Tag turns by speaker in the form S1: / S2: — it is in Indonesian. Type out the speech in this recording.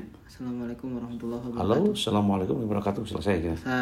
S1: Assalamualaikum warahmatullahi wabarakatuh.
S2: Halo, assalamualaikum warahmatullahi wabarakatuh. Selesai. Ya.